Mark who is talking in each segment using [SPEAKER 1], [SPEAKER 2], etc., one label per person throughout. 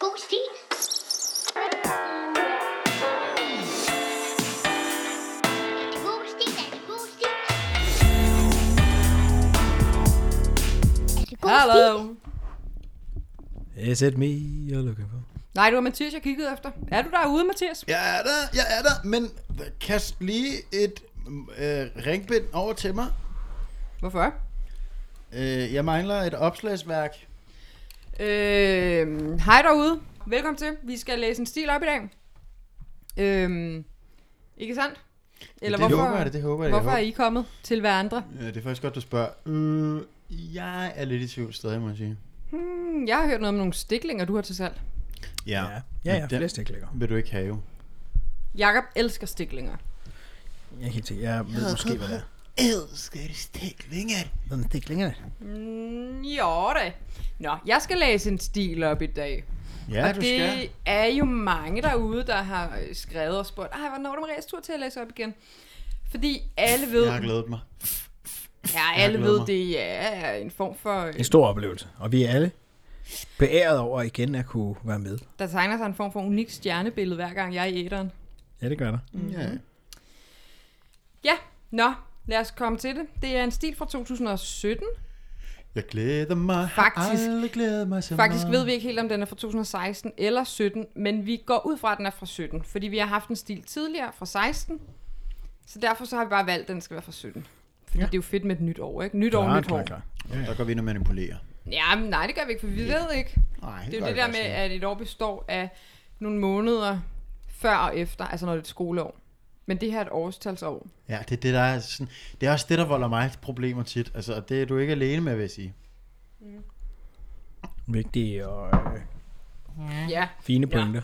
[SPEAKER 1] Boosty.
[SPEAKER 2] Hallo.
[SPEAKER 3] Is it me you're looking for?
[SPEAKER 2] Nej, det var Mathias, jeg kiggede efter. Er du derude, Mathias?
[SPEAKER 4] Jeg er der, jeg er der, men kast lige et øh, ringbind over til mig.
[SPEAKER 2] Hvorfor?
[SPEAKER 4] Øh, jeg mangler et opslagsværk.
[SPEAKER 2] Øh, hej derude. Velkommen til. Vi skal læse en stil op i dag. Øh, ikke sandt? Eller
[SPEAKER 4] det
[SPEAKER 2] hvorfor,
[SPEAKER 4] håber jeg da, det håber jeg da.
[SPEAKER 2] hvorfor
[SPEAKER 4] Jeg
[SPEAKER 2] er I kommet til hver andre?
[SPEAKER 4] Ja, det er faktisk godt, du spørger. Øh, jeg er lidt i tvivl stadig, må jeg sige.
[SPEAKER 2] Hmm, jeg har hørt noget om nogle stiklinger, du har til salg.
[SPEAKER 4] Ja.
[SPEAKER 3] Ja, ja, ja
[SPEAKER 4] Men
[SPEAKER 3] flere
[SPEAKER 4] den
[SPEAKER 3] stiklækker.
[SPEAKER 4] Vil du ikke have jo?
[SPEAKER 2] Jakob elsker stiklinger.
[SPEAKER 3] Jeg kan ikke se, jeg ved måske, hvad det er.
[SPEAKER 4] Elsker det stiklinger.
[SPEAKER 3] Den stiklingerne.
[SPEAKER 2] Mm, jo da. Nå, jeg skal læse en stil op i dag.
[SPEAKER 4] Ja,
[SPEAKER 2] og
[SPEAKER 4] du
[SPEAKER 2] det
[SPEAKER 4] skal.
[SPEAKER 2] er jo mange derude, der har øh, skrevet og spurgt, ej, hvornår er det Marias tur til at læse op igen? Fordi alle ved,
[SPEAKER 4] Jeg har glædet mig.
[SPEAKER 2] ja, alle
[SPEAKER 4] glædet
[SPEAKER 2] ved
[SPEAKER 4] mig.
[SPEAKER 2] det er en form for, øh,
[SPEAKER 3] En stor oplevelse. Og vi er alle beæret over igen at kunne være med.
[SPEAKER 2] der tegner sig en form for unik stjernebillede, hver gang jeg er i æderen.
[SPEAKER 3] Ja, det gør der.
[SPEAKER 2] Mm.
[SPEAKER 4] Ja.
[SPEAKER 2] Ja, nå, lad os komme til det. Det er en stil fra 2017.
[SPEAKER 4] Jeg glæder mig.
[SPEAKER 2] Faktisk-
[SPEAKER 4] Har aldrig glædet mig så
[SPEAKER 2] Faktisk
[SPEAKER 4] meget.
[SPEAKER 2] ved vi ikke helt, om den er fra 2016 eller 17, men vi går ud fra, at den er fra 17, fordi vi har haft en stil tidligere fra 16, så derfor så har vi bare valgt, at den skal være fra 17. Fordi ja. det er jo fedt med et nyt år, ikke? Nyt år,
[SPEAKER 3] Klar,
[SPEAKER 2] nyt år.
[SPEAKER 3] klar, klar.
[SPEAKER 4] Der går vi ind og manipulerer.
[SPEAKER 2] Ja, men nej, det gør vi ikke, for vi ved ikke.
[SPEAKER 4] Nej,
[SPEAKER 2] Det er jo det der med, at et år består af nogle måneder før og efter, altså når det er et skoleår. Men det her er et årstalsår.
[SPEAKER 4] Ja, det er det, der er sådan, det er også det, der volder mig problemer tit. Altså, og det er du ikke alene med, vil jeg sige.
[SPEAKER 3] Vigtige og øh,
[SPEAKER 2] Ja.
[SPEAKER 3] fine pointer.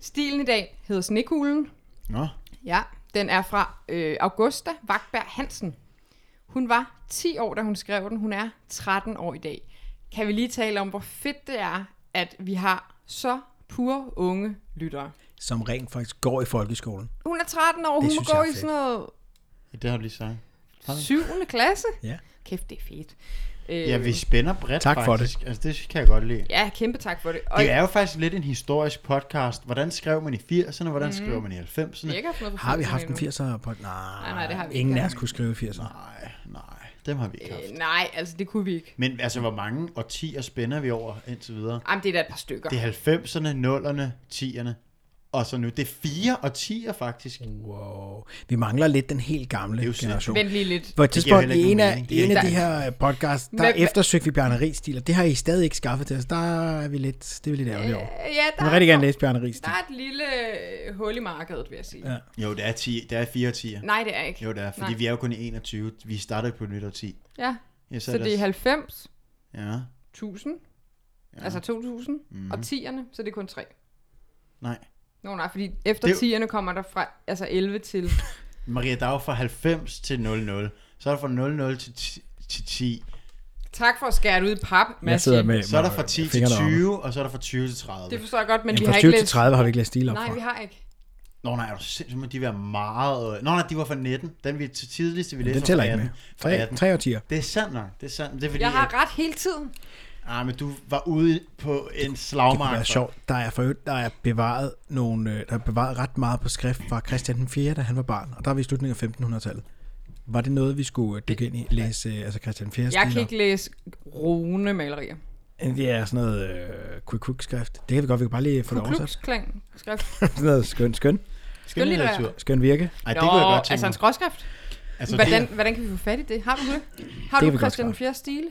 [SPEAKER 2] Stilen i dag hedder Snekuglen.
[SPEAKER 4] Nå,
[SPEAKER 2] Ja, den er fra øh, Augusta Vagtberg Hansen. Hun var 10 år, da hun skrev den. Hun er 13 år i dag. Kan vi lige tale om, hvor fedt det er, at vi har så pure unge lyttere.
[SPEAKER 3] Som rent faktisk går i folkeskolen.
[SPEAKER 2] Hun er 13 år, hun
[SPEAKER 3] synes
[SPEAKER 2] må
[SPEAKER 3] jeg
[SPEAKER 2] gå
[SPEAKER 3] er
[SPEAKER 2] i
[SPEAKER 3] fedt.
[SPEAKER 2] sådan noget
[SPEAKER 4] det har du lige sagt.
[SPEAKER 2] 7. klasse.
[SPEAKER 3] Ja.
[SPEAKER 2] Kæft, det er fedt. Øh,
[SPEAKER 4] Ja, vi spænder bredt
[SPEAKER 3] Tak for
[SPEAKER 4] faktisk. det. Altså, det kan jeg godt lide.
[SPEAKER 2] Ja, kæmpe tak for det. Og
[SPEAKER 4] Det er jo faktisk lidt en historisk podcast. Hvordan skrev man i 80'erne? Hvordan
[SPEAKER 2] Mhm.
[SPEAKER 4] mm. skrev man i 90'erne?
[SPEAKER 2] vi har ikke haft noget på
[SPEAKER 3] Har vi haft en
[SPEAKER 2] Facebook
[SPEAKER 3] 80'er på? Nej,
[SPEAKER 2] nej, det har vi ikke.
[SPEAKER 3] ingen af os kunne skrive 80'er.
[SPEAKER 4] Nej, nej. Dem har vi ikke
[SPEAKER 2] endnu.
[SPEAKER 4] haft.
[SPEAKER 2] Øh, nej, altså det kunne vi ikke.
[SPEAKER 4] Men altså, hvor mange årtier spænder vi over indtil videre?
[SPEAKER 2] Jamen, det er da et par stykker.
[SPEAKER 4] Det er 90'erne, 0'erne, 10'erne. Og så nu, det er fire årtier faktisk. Det
[SPEAKER 3] Wow. Vi mangler lidt den helt gamle
[SPEAKER 4] er jo
[SPEAKER 3] generation.
[SPEAKER 2] Vent lige lidt.
[SPEAKER 3] På et tidspunkt
[SPEAKER 4] heller ikke
[SPEAKER 3] i en
[SPEAKER 4] nogen
[SPEAKER 3] af,
[SPEAKER 4] mening. Det
[SPEAKER 3] i
[SPEAKER 4] er
[SPEAKER 3] en af
[SPEAKER 2] ikke-
[SPEAKER 3] de her øh, podcast, der
[SPEAKER 2] Men-
[SPEAKER 3] eftersøgte vi Bjarne Ries stil, og det har I stadig ikke skaffet til os. Der er vi lidt, det er vi lidt ærgerlige over.
[SPEAKER 2] Øh, Ja,
[SPEAKER 3] Jeg
[SPEAKER 2] der,
[SPEAKER 3] vil rigtig gerne læse Bjarne Ries
[SPEAKER 2] der
[SPEAKER 3] stil.
[SPEAKER 2] er et lille øh, hul i markedet, vil jeg sige.
[SPEAKER 3] Ja.
[SPEAKER 2] Ja.
[SPEAKER 4] Jo, det er, 10, det er fire årtier.
[SPEAKER 2] Nej, det er ikke.
[SPEAKER 4] Jo, det er, fordi
[SPEAKER 2] Nej.
[SPEAKER 4] Nej. vi er jo kun i 21. Vi startede på et nyt årti.
[SPEAKER 2] Ja.
[SPEAKER 4] Ja,
[SPEAKER 2] Så det er 90,
[SPEAKER 4] Ja,
[SPEAKER 2] 1000, ja. altså 2000, mm. og 10'erne, så det er kun 3.
[SPEAKER 4] nej.
[SPEAKER 2] Nå nej, fordi efter
[SPEAKER 4] Det er
[SPEAKER 2] 10'erne kommer der fra altså 11 til...
[SPEAKER 4] Maria Dag fra 90 til 00. Så er der fra 00 til 10, til 10.
[SPEAKER 2] Tak for at skære det ud i pap, Mads.
[SPEAKER 3] Jeg sidder med,
[SPEAKER 4] Så er der
[SPEAKER 3] med
[SPEAKER 4] fra 10 til
[SPEAKER 3] fingrene oppe.
[SPEAKER 4] 20, og så er der fra 20 til 30.
[SPEAKER 2] Det forstår jeg godt, men
[SPEAKER 3] Jamen,
[SPEAKER 2] vi
[SPEAKER 3] fra
[SPEAKER 2] har
[SPEAKER 3] 20
[SPEAKER 2] ikke
[SPEAKER 3] til
[SPEAKER 2] læst...
[SPEAKER 3] 30 har vi ikke læst stil op
[SPEAKER 2] Nej,
[SPEAKER 3] fra.
[SPEAKER 2] vi har ikke.
[SPEAKER 4] Nå nej, er du sindssygt, må de være meget... øh, Nå nej, de var fra 19. Den vi til tidligste, vi
[SPEAKER 3] Den
[SPEAKER 4] læste
[SPEAKER 3] tæller
[SPEAKER 4] var fra
[SPEAKER 3] ikke med.
[SPEAKER 4] 18. Fra
[SPEAKER 3] Tre,
[SPEAKER 4] 18.
[SPEAKER 3] tre årtier.
[SPEAKER 4] Det er sandt nok, det er sandt. men Det er fordi,
[SPEAKER 2] Jeg har
[SPEAKER 4] at,
[SPEAKER 2] ret hele tiden.
[SPEAKER 4] ah, men du var ude på en
[SPEAKER 3] Det kunne
[SPEAKER 4] slagmark.
[SPEAKER 3] være sjovt. Der er, for, øvrigt- der er bevaret nogle, øh, der er bevaret ret meget på skrift fra Christian den 4., da han var barn, og der er vi i slutningen af 1500-tallet. Var det noget, vi skulle øh, dykke ind i? Læse øh, altså Christian 4.
[SPEAKER 2] Jeg kan ikke læse rune malerier.
[SPEAKER 3] Det er sådan noget øh, quick quick skrift. Det kan vi godt, vi kan bare lige få det oversat.
[SPEAKER 2] Klubsklang. Skrift.
[SPEAKER 3] sådan noget skøn, skøn,
[SPEAKER 2] Skønlitterær.
[SPEAKER 3] skøn virke.
[SPEAKER 4] Ej, det kunne jeg godt tænke
[SPEAKER 2] altså en
[SPEAKER 4] mig.
[SPEAKER 2] skråskrift.
[SPEAKER 4] altså,
[SPEAKER 2] Hvordan,
[SPEAKER 4] Det,
[SPEAKER 2] hvordan kan vi få fat i det? Har du det? Har
[SPEAKER 3] Det
[SPEAKER 2] det du
[SPEAKER 3] vil godt
[SPEAKER 2] Christian
[SPEAKER 3] skaffe.
[SPEAKER 2] IV stile?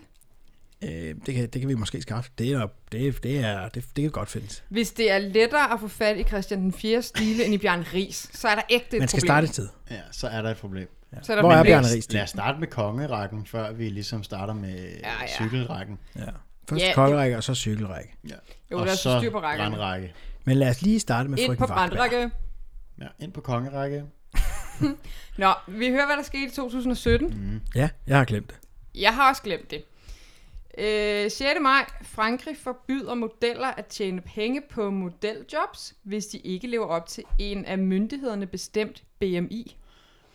[SPEAKER 3] Øh, det, kan, det kan vi måske skaffe. Det er, det, det er, det, det kan godt findes.
[SPEAKER 2] Hvis det er lettere at få fat i Christian den 4. stile end i Bjørn Ries, så er der ægte et
[SPEAKER 3] Man skal
[SPEAKER 2] problem.
[SPEAKER 3] starte et sted.
[SPEAKER 4] ja, så er der et problem.
[SPEAKER 2] Så er der
[SPEAKER 3] Hvor er
[SPEAKER 2] problem.
[SPEAKER 3] Bjarne Ries stil?
[SPEAKER 4] Lad os starte med kongerækken, før vi ligesom starter med ja,
[SPEAKER 2] ja.
[SPEAKER 4] ja. cykelrækken.
[SPEAKER 3] Ja. Først
[SPEAKER 2] Ja,
[SPEAKER 3] ja,
[SPEAKER 2] det-
[SPEAKER 3] kongerække, og så cykelrække.
[SPEAKER 4] Ja.
[SPEAKER 2] Jo,
[SPEAKER 4] og
[SPEAKER 2] lad os
[SPEAKER 4] så
[SPEAKER 2] styr på rækken.
[SPEAKER 4] brandrække.
[SPEAKER 3] Men lad os lige starte med
[SPEAKER 2] Ind på
[SPEAKER 3] frygten
[SPEAKER 2] brandrække.
[SPEAKER 4] Ja, ind på kongerække.
[SPEAKER 2] Nå, vi hører, hvad der skete i 2017. Mm.
[SPEAKER 3] Ja, jeg har glemt det.
[SPEAKER 2] Jeg har også glemt det. Øh, 6. maj. Frankrig forbyder modeller at tjene penge på modeljobs, hvis de ikke lever op til en af myndighederne bestemt BMI.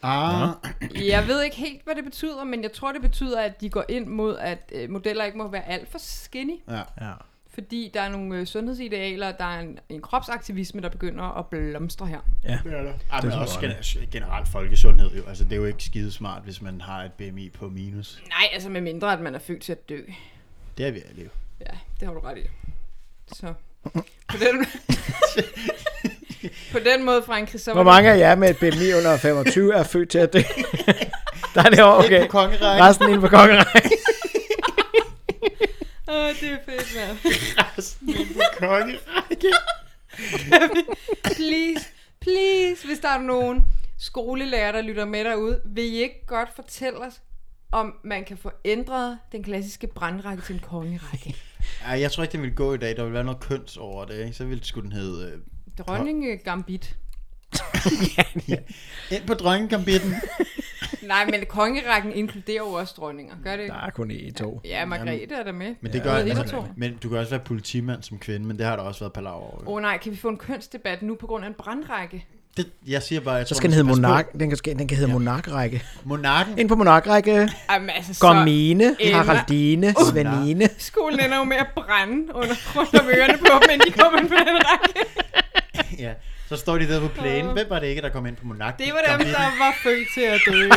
[SPEAKER 4] Ah,
[SPEAKER 2] Jeg ved ikke helt, hvad det betyder, men jeg tror, det betyder, at de går ind mod, at øh, modeller ikke må være alt for skinny.
[SPEAKER 4] ja.
[SPEAKER 3] Ja.
[SPEAKER 2] fordi der er nogle øh, sundhedsidealer, der er en, en kropsaktivisme, der begynder at blomstre her.
[SPEAKER 3] Ja.
[SPEAKER 4] Det er der. Ej,
[SPEAKER 3] Det
[SPEAKER 4] Ah, men
[SPEAKER 3] tror
[SPEAKER 4] også
[SPEAKER 3] jeg,
[SPEAKER 4] gen- generelt folkesundhed jo. Altså, det er jo ikke skide smart, hvis man har et BMI på minus.
[SPEAKER 2] Nej, altså med mindre, at man er født til at dø.
[SPEAKER 4] Det er vi alle jo.
[SPEAKER 2] Ja, det har du ret i. Så på den, på den måde, Frankrig, så var
[SPEAKER 1] Hvor mange af jer med et BMI under 25 er født til at dø? Der er det over, okay.
[SPEAKER 4] Lidt på kongerækken.
[SPEAKER 1] Resten inde på kongerækken.
[SPEAKER 2] det, åh, det er fedt, mand.
[SPEAKER 4] Resten inde på kongerækken.
[SPEAKER 2] please, please, hvis der er nogen skolelærer, der lytter med derude, vil I ikke godt fortælle os, om man kan få ændret den klassiske brandrække til en kongerække?
[SPEAKER 4] Ej, jeg tror ikke, den ville gå i dag. Der ville være noget køns over det, ikke? Så ville det skulle den hedde... Øh,
[SPEAKER 2] Dronning øh, Gambit.
[SPEAKER 4] ind på dronningambitten.
[SPEAKER 2] Nej, men kongerækken inkluderer jo også dronninger, gør det ikke?
[SPEAKER 3] Der er kun én, to.
[SPEAKER 2] Ja, Margrethe er der med.
[SPEAKER 4] Men det gør...
[SPEAKER 2] Både et og to.
[SPEAKER 4] altså, men du kan også være politimand som kvinde, men det har der også været palaver over.
[SPEAKER 2] Åh oh, nej, kan vi få en kønsdebat nu på grund af en brandrække?
[SPEAKER 4] Det, jeg siger bare, jeg
[SPEAKER 1] Så
[SPEAKER 4] tror,
[SPEAKER 1] skal den
[SPEAKER 4] man
[SPEAKER 1] hedde
[SPEAKER 4] passe på.
[SPEAKER 1] monark. Den kan, skal- den kan hedde monarkrække.
[SPEAKER 4] Monarken.
[SPEAKER 1] Ind på monarkrække.
[SPEAKER 2] Jamen, altså, så...
[SPEAKER 1] Gonmine,
[SPEAKER 2] Emma. Uh,
[SPEAKER 1] Haraldine, Svenine.
[SPEAKER 2] Skolen ender jo med at brænde under, rundt om ørerne på dem, inden de kommer ind på den række.
[SPEAKER 4] Ja. Så står de der på plænen. Hvem var det ikke, der kom ind på monarken?
[SPEAKER 2] Det var dem,
[SPEAKER 4] Gambitten?
[SPEAKER 2] der var født til at dø.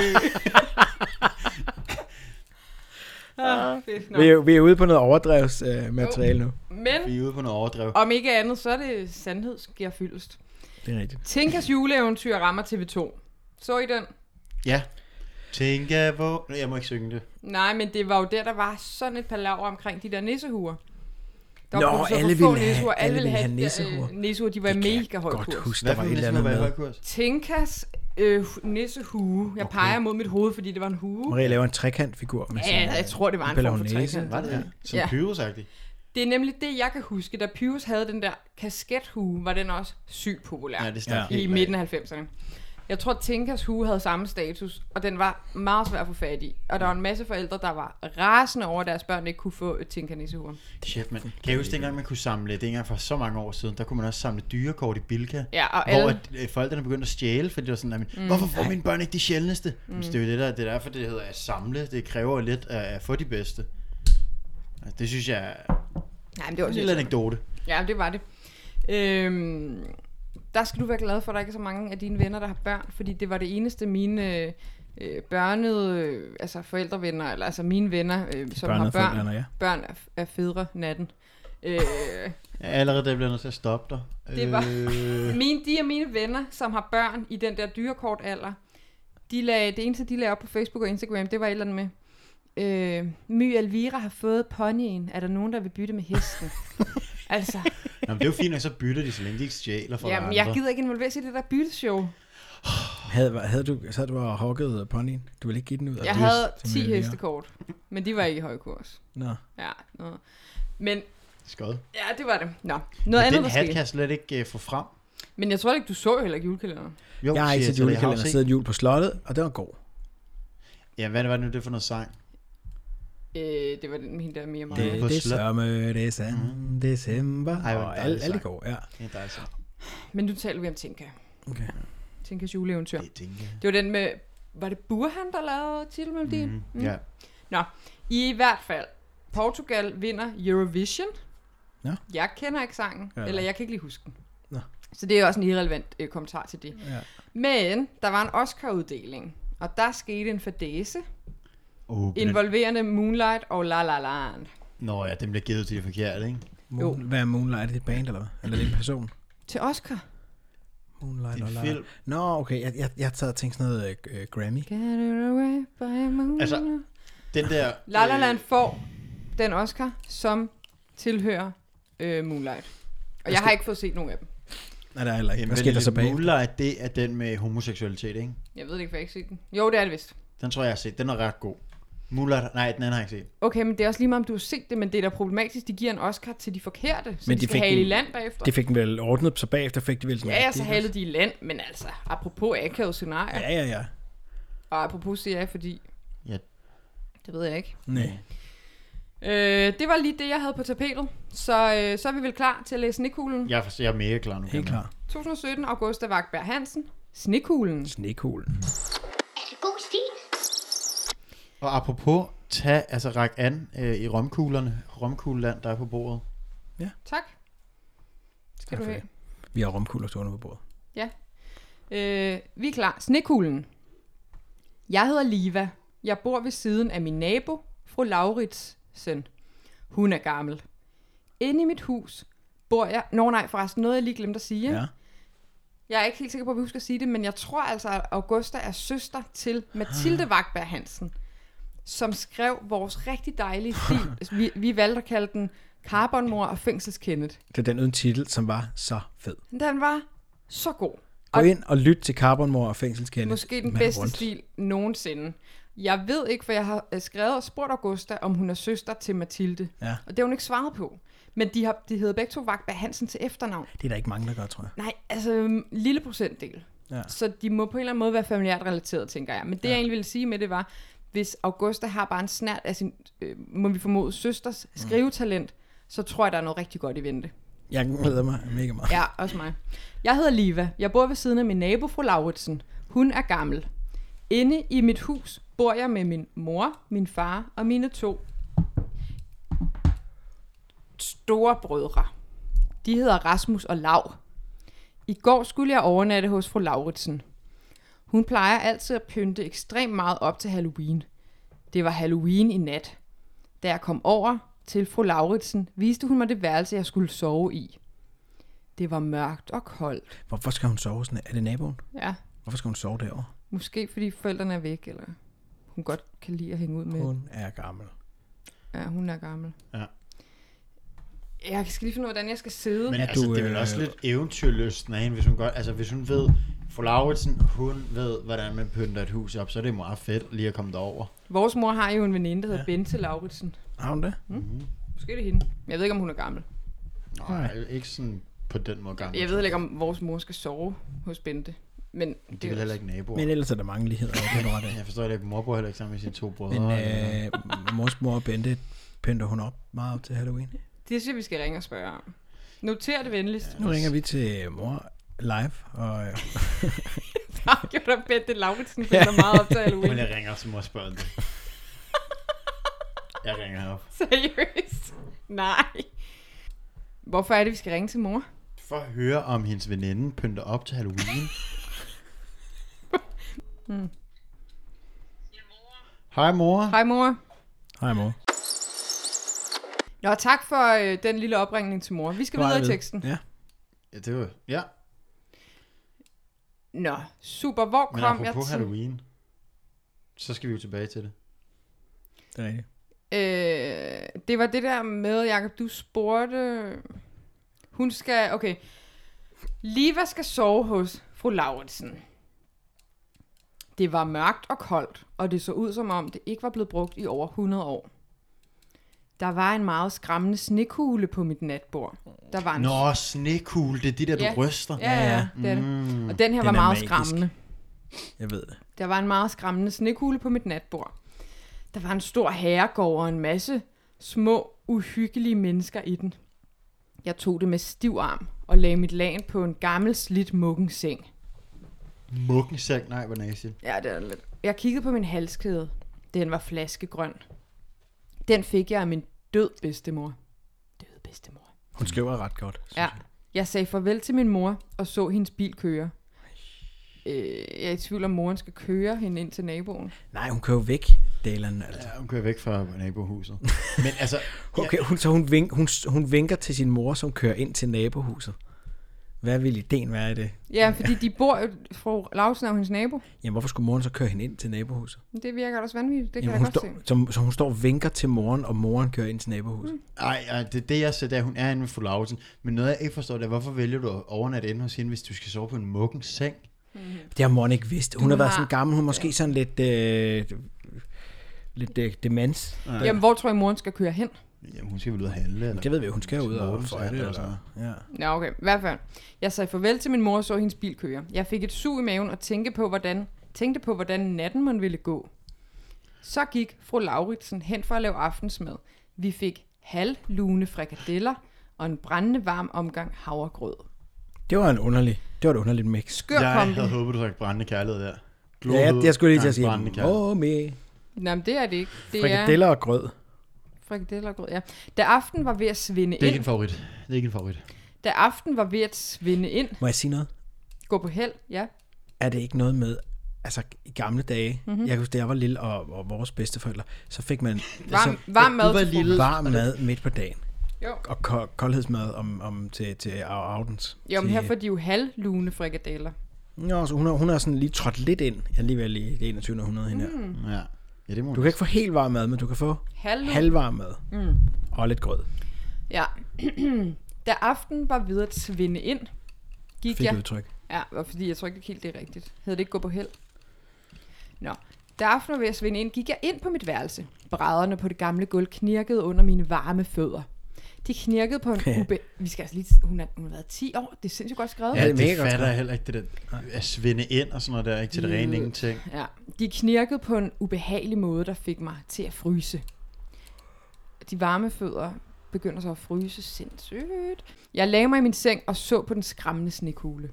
[SPEAKER 2] ah, fedt nok.
[SPEAKER 1] Vi er, vi er ude på noget overdrevsmateriale nu.
[SPEAKER 2] Men
[SPEAKER 4] Vi er ude på noget overdrev.
[SPEAKER 2] om ikke andet, så er det sandhed, sker fyldest.
[SPEAKER 1] Det er rigtigt.
[SPEAKER 2] Tinkas juleeventyr rammer TV2. Så I den?
[SPEAKER 4] Ja. Tænker på... Jeg må ikke synge det.
[SPEAKER 2] Nej, men det var jo der, der var sådan et palaver omkring de der nissehuer. Der
[SPEAKER 1] Nå,
[SPEAKER 2] var kun så
[SPEAKER 1] alle
[SPEAKER 2] få
[SPEAKER 1] ville have-
[SPEAKER 2] nissehuer.
[SPEAKER 1] alle ville have
[SPEAKER 2] de der, øh,
[SPEAKER 1] nissehuer.
[SPEAKER 2] Nissehuer, de var i
[SPEAKER 1] kan
[SPEAKER 2] mega høj
[SPEAKER 1] Godt
[SPEAKER 2] kurs.
[SPEAKER 1] husk,
[SPEAKER 4] Hvad
[SPEAKER 1] der
[SPEAKER 4] for
[SPEAKER 1] var
[SPEAKER 4] en
[SPEAKER 1] et
[SPEAKER 4] næste
[SPEAKER 1] eller
[SPEAKER 4] må
[SPEAKER 1] andet
[SPEAKER 4] være i
[SPEAKER 1] med.
[SPEAKER 4] høj kurs?
[SPEAKER 2] Tinkas øh, nissehue. Jeg okay. peger mod mit hoved, fordi det var en hue.
[SPEAKER 1] Maria laver en trekantfigur med sin...
[SPEAKER 2] Ja, jeg
[SPEAKER 3] øh,
[SPEAKER 2] tror, det var en
[SPEAKER 1] Bella
[SPEAKER 2] form for
[SPEAKER 1] Hornese.
[SPEAKER 2] trekant.
[SPEAKER 4] Var det det? Som
[SPEAKER 2] Ja.
[SPEAKER 4] ja. pyrosagtigt.
[SPEAKER 2] Det er nemlig det, jeg kan huske, da Pius havde den der kaskethue, var den også sygt populær
[SPEAKER 4] Ja,
[SPEAKER 2] ja,
[SPEAKER 4] det stak
[SPEAKER 3] Ja.
[SPEAKER 4] ja.
[SPEAKER 2] i midten af 90'erne. Jeg tror, Tinkas hue havde samme status, og den var meget svær at få fat i. Og der var en masse forældre, der var rasende over, at deres børn ikke kunne få Tinka nissehuer.
[SPEAKER 4] Shit, man. Kan jeg huske, dengang man kunne samle, dengang for så mange år siden, der kunne man også samle dyrekort i Bilka.
[SPEAKER 2] Ja, og
[SPEAKER 4] Hvor
[SPEAKER 2] alle,
[SPEAKER 4] at, øh, forældrene begyndte at stjæle, fordi det var sådan, at, mm. hvorfor får mine børn ikke de sjældneste? Mm. Det er jo det, der, det er derfor, det hedder at samle. Det kræver lidt at, at få de bedste. Altså, Det synes jeg er
[SPEAKER 2] nej, men det var
[SPEAKER 4] en
[SPEAKER 2] også
[SPEAKER 4] lille anekdote.
[SPEAKER 2] Ja, det var det. Øhm, der skal du være glad for, at der ikke er så mange af dine venner, der har børn, fordi det var det eneste mine øh, øh, børnede, øh, altså forældrevenner, eller altså mine venner, øh, som
[SPEAKER 3] børnede
[SPEAKER 2] har børn,
[SPEAKER 3] forældrene, ja.
[SPEAKER 2] børn af, af fædre natten. Øh,
[SPEAKER 4] Ja, Allerede der bliver jeg nødt til at stoppe dig.
[SPEAKER 2] Det var-
[SPEAKER 4] Øh,
[SPEAKER 2] mine, de er mine venner, som har børn i den der dyrekort alder. De lagde, det eneste, de lagde op på Facebook og Instagram, det var et eller andet med, øh, My Alvira har fået ponyen. Er der nogen, der vil bytte med hesten? altså,
[SPEAKER 4] Nå, men det er jo fint, at så bytter de, så længe de ikke stjæler fra
[SPEAKER 2] jamen,
[SPEAKER 4] andre.
[SPEAKER 2] jeg gider ikke involvere sig i det der bytteshow.
[SPEAKER 3] Havde, havde du, så du og hugget ponyen? Du ville ikke give den ud? af
[SPEAKER 2] Jeg
[SPEAKER 3] det,
[SPEAKER 2] havde
[SPEAKER 3] som
[SPEAKER 2] 10
[SPEAKER 3] jeg lige-
[SPEAKER 2] hestekort, men de var ikke i høj kurs.
[SPEAKER 3] Nå.
[SPEAKER 2] Ja, noget. Men
[SPEAKER 4] Skod.
[SPEAKER 2] ja, det var det. Nå,
[SPEAKER 4] Men
[SPEAKER 2] noget andet,
[SPEAKER 4] den
[SPEAKER 2] der
[SPEAKER 4] hat kan
[SPEAKER 2] skete.
[SPEAKER 4] jeg slet ikke uh, få frem.
[SPEAKER 2] Men jeg tror ikke, du så heller ikke julekalenderen.
[SPEAKER 4] Jo,
[SPEAKER 1] Jeg har ikke
[SPEAKER 4] siger
[SPEAKER 1] set
[SPEAKER 4] jeg, så det har jeg
[SPEAKER 1] julekalender
[SPEAKER 4] set.
[SPEAKER 1] siden jul på slottet, og det var god.
[SPEAKER 4] Ja, hvad var det nu det for noget sang?
[SPEAKER 2] Øh, det var den med hende der mere
[SPEAKER 4] Det-
[SPEAKER 2] meget.
[SPEAKER 4] på
[SPEAKER 3] Det er
[SPEAKER 4] slot.
[SPEAKER 3] sommer, det er sand, december.
[SPEAKER 4] Ej, hvor
[SPEAKER 3] og
[SPEAKER 4] dejlig
[SPEAKER 3] alt, alt er
[SPEAKER 4] sang.
[SPEAKER 3] god, ja.
[SPEAKER 4] Ja, der er så.
[SPEAKER 2] Men nu taler vi om Tinka.
[SPEAKER 3] Okay.
[SPEAKER 2] Tinkas juleeventyr.
[SPEAKER 4] Det tænker jeg.
[SPEAKER 2] Det var den med... Var det Burhan, der lavede titelmelodien?
[SPEAKER 3] Mhm.
[SPEAKER 4] Mm. Ja.
[SPEAKER 2] I hvert fald, Portugal vinder Eurovision.
[SPEAKER 3] Nå.
[SPEAKER 2] Jeg kender ikke sangen,
[SPEAKER 3] Ja,
[SPEAKER 2] ja,
[SPEAKER 3] nej.
[SPEAKER 2] eller jeg kan ikke lige huske den.
[SPEAKER 3] Nå.
[SPEAKER 2] Så det er også en irrelevant øh, kommentar til det.
[SPEAKER 3] Ja.
[SPEAKER 2] Men der var en Oscar-uddeling, og der skete en fadese
[SPEAKER 4] Oh, men,
[SPEAKER 2] involverende Moonlight og La La Land.
[SPEAKER 4] Nå ja, den bliver givet til de forkerte, ikke?
[SPEAKER 3] Moon, Hvad er Moonlight? Er det et band, eller hvad? Eller er det en person?
[SPEAKER 2] Til Oscar.
[SPEAKER 3] Moonlight
[SPEAKER 4] Det er en
[SPEAKER 3] og Lala.
[SPEAKER 4] film.
[SPEAKER 3] Nå, okay. Jeg, jeg, jeg sad og tænkte sådan noget øh, øh, Grammy.
[SPEAKER 2] Get it away by moonlight.
[SPEAKER 4] Altså, Den der... øh,
[SPEAKER 2] La La Land får den Oscar, som tilhører øh, Moonlight. Og jeg har ikke fået set nogen af dem.
[SPEAKER 3] Nej, der er heller
[SPEAKER 4] Øh,
[SPEAKER 3] ikke. Hvad sker der så bag?
[SPEAKER 4] Moonlight, det er den med homoseksualitet, ikke?
[SPEAKER 2] Jeg ved det ikke, for jeg har ikke set den. Jo, det er det vist.
[SPEAKER 4] Den tror jeg, jeg har set. Den er ret god. Moonlight, nej, den anden har jeg ikke set.
[SPEAKER 2] Okay, men det er også lige meget, om du har set det, men det er da problematisk, de giver en Oscar til de forkerte, så
[SPEAKER 3] Men
[SPEAKER 2] men de,
[SPEAKER 3] de
[SPEAKER 2] skal
[SPEAKER 3] fik
[SPEAKER 2] hale i
[SPEAKER 3] den-
[SPEAKER 2] land bagefter.
[SPEAKER 3] De fik den vel ordnet, så bagefter fik de vel den
[SPEAKER 2] Ja, ja, så
[SPEAKER 3] rigtige.
[SPEAKER 2] halede de i land, men altså, apropos akavet scenarier, ja.
[SPEAKER 3] Ja, ja, ja.
[SPEAKER 2] og apropos siger jeg, fordi...
[SPEAKER 4] Ja.
[SPEAKER 2] Det ved jeg ikke.
[SPEAKER 3] Nej.
[SPEAKER 2] Øh, det var lige det, jeg havde på tapetet. Så, øh, så er vi vel klar til at læse snekuglen.
[SPEAKER 4] Jeg er, for- jeg er mega klar nu.
[SPEAKER 3] Helt
[SPEAKER 4] Kamal.
[SPEAKER 3] klar.
[SPEAKER 2] 2017, Augusta Wagberg Hansen. Snekuglen.
[SPEAKER 3] Snekuglen.
[SPEAKER 5] Er det god stil?
[SPEAKER 4] Og apropos, tag, altså ræk an øh, i romkuglerne, romkugleland, der er på bordet.
[SPEAKER 3] Ja.
[SPEAKER 2] Tak. Skal du have.
[SPEAKER 3] Perfekt. Vi har romkugler stående på bordet.
[SPEAKER 2] Ja. Øh, vi er klar. Snekuglen. Jeg hedder Liva. Jeg bor ved siden af min nabo, fru Lauritsen. Hun er gammel. Inde i mit hus bor jeg... Nå nej, forresten, noget jeg lige glemte at sige.
[SPEAKER 3] Ja.
[SPEAKER 2] Jeg er ikke helt sikker på, at vi husker at sige det, men jeg tror altså, at Augusta er søster til Mathilde Vagberg Hansen, som skrev vores rigtig dejlige stil. Vi, vi valgte at kalde den Carbonmor og Fængselskendet.
[SPEAKER 3] Det er den uden titel, som var så fed.
[SPEAKER 2] Den var så god.
[SPEAKER 3] Gå ind og lyt til Carbonmor og Fængselskende.
[SPEAKER 2] Måske den bedste rundt. stil nogensinde. Jeg ved ikke, for jeg har øh, skrevet og spurgt Augusta, om hun er søster til Mathilde.
[SPEAKER 3] Ja.
[SPEAKER 2] Og det har hun ikke svaret på. Men de, har, de hedder begge to Vagberg Hansen til efternavn.
[SPEAKER 3] Det er der ikke mange, der gør, tror jeg.
[SPEAKER 2] Nej, altså øhm, lille procentdel.
[SPEAKER 3] Ja.
[SPEAKER 2] Så de må på en eller anden måde være familiært relateret, tænker jeg. Men det ja. jeg egentlig ville sige med det var, hvis Augusta har bare en snært af sin, øh, må vi formode, søsters skrivetalent, så tror jeg, der er noget rigtig godt i vente.
[SPEAKER 3] Jeg glæder mig mega meget.
[SPEAKER 2] Ja, også mig. Jeg hedder Liva. Jeg bor ved siden af min nabo, fru Lauritsen. Hun er gammel. Inde i mit hus bor jeg med min mor, min far og mine to store brødre. De hedder Rasmus og Lav. I går skulle jeg overnatte hos fru Lauritsen. Hun plejer altid at pynte ekstremt meget op til Halloween. Det var Halloween i nat. Da jeg kom over til fru Lauritsen, viste hun mig det værelse, jeg skulle sove i. Det var mørkt og koldt.
[SPEAKER 3] Hvorfor skal hun sove sådan? Er det naboen?
[SPEAKER 2] Ja,
[SPEAKER 3] Hvorfor skal hun sove derovre?
[SPEAKER 2] måske fordi forældrene er væk, eller hun godt kan lide at hænge ud med. Hun.
[SPEAKER 3] Hun er gammel.
[SPEAKER 2] Ja, hun er gammel.
[SPEAKER 4] Ja.
[SPEAKER 2] Jeg skal lige finde ud af, hvordan jeg skal sidde.
[SPEAKER 4] Men
[SPEAKER 2] Men,
[SPEAKER 4] er altså,
[SPEAKER 3] du,
[SPEAKER 4] det er vel
[SPEAKER 3] øh,
[SPEAKER 4] også lidt eventyrlysten af hende, hvis hun godt... Altså, hvis hun ved... Fru Lauritsen, hun ved, hvordan man pynter et hus op, så er det meget fedt lige at komme derover.
[SPEAKER 2] Vores mor har jo en veninde, der hedder ja. Bente Lauritsen.
[SPEAKER 3] Har hun det? Mm.
[SPEAKER 2] Måske er det hende. Jeg ved ikke, om hun er gammel.
[SPEAKER 4] Nej, ikke sådan på den måde gammel.
[SPEAKER 2] Jeg ved heller ikke, om vores mor skal sove hos Bente. Men det,
[SPEAKER 4] Det er vel heller ikke naboer.
[SPEAKER 3] Men ellers er der mange ligheder. Det er du ret af.
[SPEAKER 4] Jeg forstår det ikke. Mor bor heller ikke sammen med sine to brødre.
[SPEAKER 3] Men
[SPEAKER 4] eller-
[SPEAKER 3] øh, mors mor og Bente pynter hun op meget op til Halloween.
[SPEAKER 2] Det synes jeg, vi skal ringe og spørge om. Noter det venligst.
[SPEAKER 3] Nu ringer vi til mor live, og øh,
[SPEAKER 2] Tak, jeg der Bente Lauritsen, for ja. meget op til
[SPEAKER 4] Men
[SPEAKER 2] Halloween.
[SPEAKER 4] jeg ringer, så må jeg spørge om det. Jeg ringer herop.
[SPEAKER 2] Seriøst? Nej. Hvorfor er det, vi skal ringe til mor?
[SPEAKER 4] For at høre, om hendes veninde pynter op til Halloween. Hej mor.
[SPEAKER 2] Hmm. Hej mor.
[SPEAKER 3] hej mor.
[SPEAKER 2] Nå, tak for øh, den lille opringning til mor. Vi skal
[SPEAKER 3] Nu er jeg
[SPEAKER 2] videre i
[SPEAKER 3] ved.
[SPEAKER 2] teksten.
[SPEAKER 3] Ja.
[SPEAKER 4] Ja, det var... Ja,
[SPEAKER 2] Nå, super. Hvor
[SPEAKER 4] men
[SPEAKER 2] kom jeg
[SPEAKER 4] apropos
[SPEAKER 2] til?
[SPEAKER 4] Halloween, så skal vi jo tilbage til det.
[SPEAKER 3] Det er rigtigt.
[SPEAKER 2] Øh, det var det der med, Jacob, du spurgte... Hun skal... Okay. Liva skal sove hos fru Lauritsen. Det var mørkt og koldt, og det så ud som om, det ikke var blevet brugt i over 100 år. Der var en meget skræmmende snekugle på mit natbord. Der var en
[SPEAKER 4] Nå, snekugle, det er de der, du
[SPEAKER 2] Ja.
[SPEAKER 4] ryster.
[SPEAKER 2] Ja, ja, ja. Det er det.
[SPEAKER 4] Mm.
[SPEAKER 2] Og den her
[SPEAKER 3] Den
[SPEAKER 2] var
[SPEAKER 3] er
[SPEAKER 2] meget
[SPEAKER 3] magisk.
[SPEAKER 2] skræmmende.
[SPEAKER 3] Jeg ved det.
[SPEAKER 2] Der var en meget skræmmende snekugle på mit natbord. Der var en stor herregård og en masse små, uhyggelige mennesker i den. Jeg tog det med stiv arm og lagde mit lagen på en gammel, slidt mukkenseng.
[SPEAKER 4] Mukkenseng, nej, hvor næsigt.
[SPEAKER 2] Ja, det er lidt. Jeg kiggede på min halskæde. Den var flaskegrøn. Den fik jeg af min død bedstemor. Død bedstemor.
[SPEAKER 3] Hun skriver ret godt. synes
[SPEAKER 2] Ja.
[SPEAKER 3] jeg.
[SPEAKER 2] Jeg sagde farvel til min mor og så hendes bil køre. Øh, jeg er i tvivl om, moren skal køre hende ind til naboen.
[SPEAKER 3] Nej, hun kører jo væk, Dalen. Altså.
[SPEAKER 4] Ja, hun kører væk fra nabohuset. Men altså,
[SPEAKER 3] Okay, hun, så hun, vink, hun, hun vinker til sin mor, som kører ind til nabohuset. Hvad ville ideen være i det?
[SPEAKER 2] Ja, fordi de bor jo, fru Lausen er jo hendes nabo.
[SPEAKER 3] Jamen, hvorfor skulle moren så køre hende ind til nabohuset?
[SPEAKER 2] Men Det virker også vanvittigt, det kan Jamen,
[SPEAKER 3] Jamen, hun
[SPEAKER 2] jeg godt
[SPEAKER 3] står,
[SPEAKER 2] se.
[SPEAKER 3] så, så hun står og vinker til moren, og moren kører ind til nabohuset. Mm.
[SPEAKER 4] Ej, ej, det er det, jeg ser, der hun er inde med fru Lausen. Men noget, jeg ikke forstår, det er, hvorfor vælger du at overnatte inde hos hende, hvis du skal sove på en mukkens seng?
[SPEAKER 3] Det har moren ikke vidst. Hun
[SPEAKER 2] Du
[SPEAKER 3] har været
[SPEAKER 2] har-
[SPEAKER 3] sådan gammel, hun er måske sådan lidt... Øh, lidt øh, demens. Ja.
[SPEAKER 2] Jamen, hvor tror I, moren skal køre hen?
[SPEAKER 4] Jamen, hun skal vel ud og handle, eller?
[SPEAKER 3] Det ved vi jo, hun skal ud og
[SPEAKER 4] Mortens
[SPEAKER 3] fejre det. altså.
[SPEAKER 4] eller
[SPEAKER 3] Eller,
[SPEAKER 2] Nå,
[SPEAKER 3] ja.
[SPEAKER 2] okay. I hvert fald. Jeg sagde farvel til min mor og så hendes bil køre. Jeg fik et sug i maven og tænkte på, hvordan, tænkte på, hvordan natten man ville gå. Så gik fru Lauritsen hen for at lave aftensmad. Vi fik halvlune frikadeller og en brændende varm omgang havregrød.
[SPEAKER 3] Det var en underlig, det var et underligt mix.
[SPEAKER 2] Skør
[SPEAKER 4] Jeg
[SPEAKER 2] kombi.
[SPEAKER 4] havde håbet, du sagde brændende kærlighed der.
[SPEAKER 3] Ja, jeg, jeg skulle lige til at
[SPEAKER 4] Gang
[SPEAKER 3] sige,
[SPEAKER 4] Brændende kærlighed.
[SPEAKER 3] åh, med
[SPEAKER 2] Nå, men det er det ikke. Det er,
[SPEAKER 3] frikadeller og grød.
[SPEAKER 2] Frikadeller og grød, ja. Da aften var ved at svinde
[SPEAKER 4] Det er ikke
[SPEAKER 2] ind,
[SPEAKER 4] en favorit. Det er ikke en favorit.
[SPEAKER 2] da aften var ved at svinde ind,
[SPEAKER 3] Må jeg sige noget?
[SPEAKER 2] gå på held, ja.
[SPEAKER 3] er det ikke noget med, altså i gamle dage,
[SPEAKER 2] Mhm.
[SPEAKER 3] mm-hmm. jeg kan huske, da jeg var lille, og, og vores bedsteforældre, så fik man
[SPEAKER 2] Varm,
[SPEAKER 3] så,
[SPEAKER 2] varm mad
[SPEAKER 4] Altså, du var
[SPEAKER 2] til
[SPEAKER 4] lille.
[SPEAKER 2] frokost.
[SPEAKER 3] varm mad midt på dagen,
[SPEAKER 2] Jo.
[SPEAKER 3] og ko- koldhedsmad om, om til, til Audens.
[SPEAKER 2] Jo, men her får de jo halvlune frikadeller.
[SPEAKER 3] Nå, så hun, er, hun er sådan lige trådt lidt ind, jeg er lige ved i det 21. århundrede hende her.
[SPEAKER 2] Mm.
[SPEAKER 4] Ja. Ja, det må
[SPEAKER 3] Du kan ikke få helt varm mad, men du kan få
[SPEAKER 2] Halvlune.
[SPEAKER 3] halvvarm mad, mm. og lidt grød,
[SPEAKER 2] Ja. da aften var ved at svinde ind, gik
[SPEAKER 3] fik
[SPEAKER 2] jeg...
[SPEAKER 3] ja. udtryk.
[SPEAKER 2] Ja, og fordi jeg tror ikke helt, det er rigtigt. Hedder det ikke gå på held? Nå. Da aften var ved at svinde ind, gik jeg ind på mit værelse. Brædderne på det gamle gulv knirkede under mine varme fødder. De knirkede på en ube... Vi skal altså lige... Hun har, hun har været 10 år. Det er sindssygt godt skrevet.
[SPEAKER 4] Ja,
[SPEAKER 3] Ja, det er
[SPEAKER 4] det,
[SPEAKER 3] mega godt
[SPEAKER 4] fatter
[SPEAKER 3] skrevet.
[SPEAKER 4] jeg heller ikke, det der at svinde ind og sådan noget der, ikke til det rene ingenting.
[SPEAKER 2] Ja, de knirkede på en ubehagelig måde, der fik mig til at fryse. De varme fødder begynder så at fryse sindssygt. Jeg lagde mig i min seng og så på den skræmmende snekugle.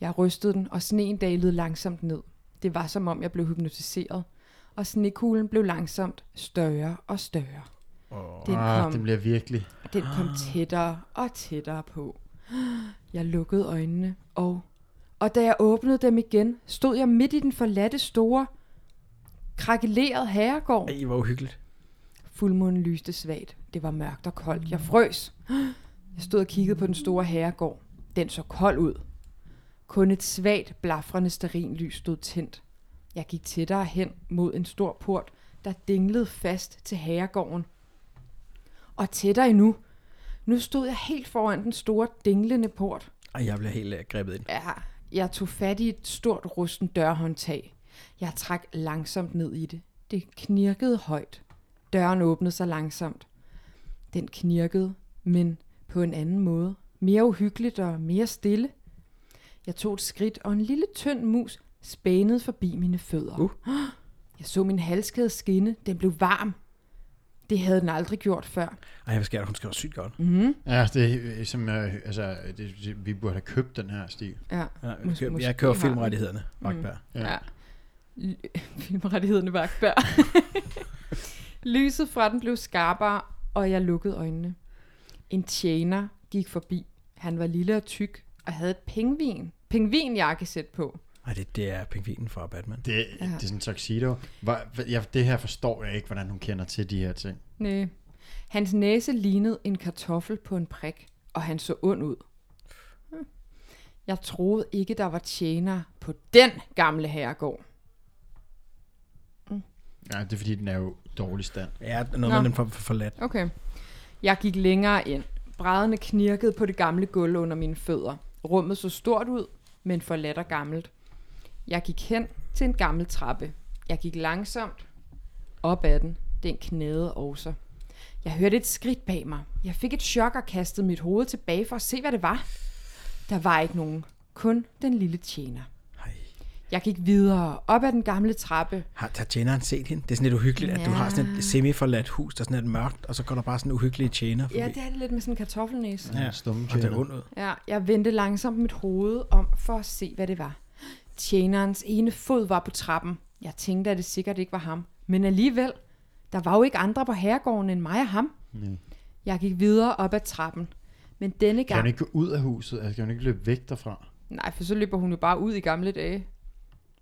[SPEAKER 2] Jeg rystede den, og sneen dalede langsomt ned. Det var som om, jeg blev hypnotiseret, og snekuglen blev langsomt større og større. Oh, den,
[SPEAKER 4] Ah,
[SPEAKER 2] kom,
[SPEAKER 4] det bliver virkelig.
[SPEAKER 2] den kom tættere og tættere på. Jeg lukkede øjnene, og, og da jeg åbnede dem igen, stod jeg midt i den forladte store, krakelerede herregård.
[SPEAKER 3] Ej, hvor uhyggeligt.
[SPEAKER 2] Fuldmånen lyste svagt. Det var mørkt og koldt. Jeg frøs. Jeg stod og kiggede på den store herregård. Den så kold ud. Kun et svagt, blafrende sterinlys stod tændt. Jeg gik tættere hen mod en stor port, der dinglede fast til herregården. Og tættere endnu. Nu stod jeg helt foran den store, dinglende port.
[SPEAKER 3] Ej, jeg bliver helt uh, grebet ind.
[SPEAKER 2] Ja, jeg tog fat i et stort rusten dørhåndtag. Jeg trak langsomt ned i det. Det knirkede højt. Døren åbnede sig langsomt. Den knirkede, men på en anden måde. Mere uhyggeligt og mere stille. Jeg tog et skridt, og en lille tynd mus spænede forbi mine fødder. Uh. Jeg så min halskæde skinne. Den blev varm. Det havde den aldrig gjort før.
[SPEAKER 3] Ej, hvad sker der? Hun skriver sygt godt.
[SPEAKER 2] Mm.
[SPEAKER 4] Ja, det er som, øh, altså, det, det, vi burde have købt den her stil.
[SPEAKER 2] Ja,
[SPEAKER 3] Ja,
[SPEAKER 2] mås-
[SPEAKER 3] jeg,
[SPEAKER 2] måske
[SPEAKER 3] jeg kører
[SPEAKER 2] har-
[SPEAKER 3] filmrettighederne,
[SPEAKER 2] Mm.
[SPEAKER 3] Magtberg.
[SPEAKER 2] Ja. ja. L- Filmrettighederne var akbær. Lyset fra den blev skarpere, og jeg lukkede øjnene. En tjener gik forbi. Han var lille og tyk, og havde et pingvin. Pingvinjakkesæt på.
[SPEAKER 3] Ej, det, det er pingvinen fra Batman.
[SPEAKER 4] Det, ja. det er sådan en tuxedo. Hvor, jeg, det her forstår jeg ikke, hvordan hun kender til de her ting.
[SPEAKER 2] Næ. Hans næse lignede en kartoffel på en prik, og han så ond ud. Hm. Jeg troede ikke, der var tjenere på den gamle herregård.
[SPEAKER 4] Ja, det er fordi, den er jo dårlig stand.
[SPEAKER 3] Ja, noget
[SPEAKER 2] Nå.
[SPEAKER 3] med den for, for forladt.
[SPEAKER 2] Okay. Jeg gik længere ind. Brædderne knirkede på det gamle gulv under mine fødder. Rummet så stort ud, men forladt og gammelt. Jeg gik hen til en gammel trappe. Jeg gik langsomt op ad den. Den knæede også. Jeg hørte et skridt bag mig. Jeg fik et chok og kastede mit hoved tilbage for at se, hvad det var. Der var ikke nogen. Kun den lille tjener.
[SPEAKER 3] Ej.
[SPEAKER 2] Jeg gik videre op ad den gamle trappe.
[SPEAKER 3] Har har tjeneren set hende? Det er sådan lidt uhyggeligt, ja. at du har sådan et semi-forladt hus, der er sådan lidt mørkt, og så går der bare sådan en uhyggelig tjener forbi.
[SPEAKER 2] Ja, det er det lidt med sådan en kartoffelnæse.
[SPEAKER 4] Ja. Stumme
[SPEAKER 3] Og det er ondt ud.
[SPEAKER 2] Ja, jeg vendte langsomt mit hoved om for at se, hvad det var. Tjenerens ene fod var på trappen. Jeg tænkte, at det sikkert ikke var ham. Men alligevel, der var jo ikke andre på herregården end mig og ham.
[SPEAKER 4] Nej.
[SPEAKER 2] Jeg gik videre op ad trappen. Men denne
[SPEAKER 4] Mm. Kan hun
[SPEAKER 2] gang...
[SPEAKER 4] ikke gå ud af huset? Altså, kan hun ikke løbe væk derfra?
[SPEAKER 2] Nej, for så løber hun jo bare ud i gamle dage.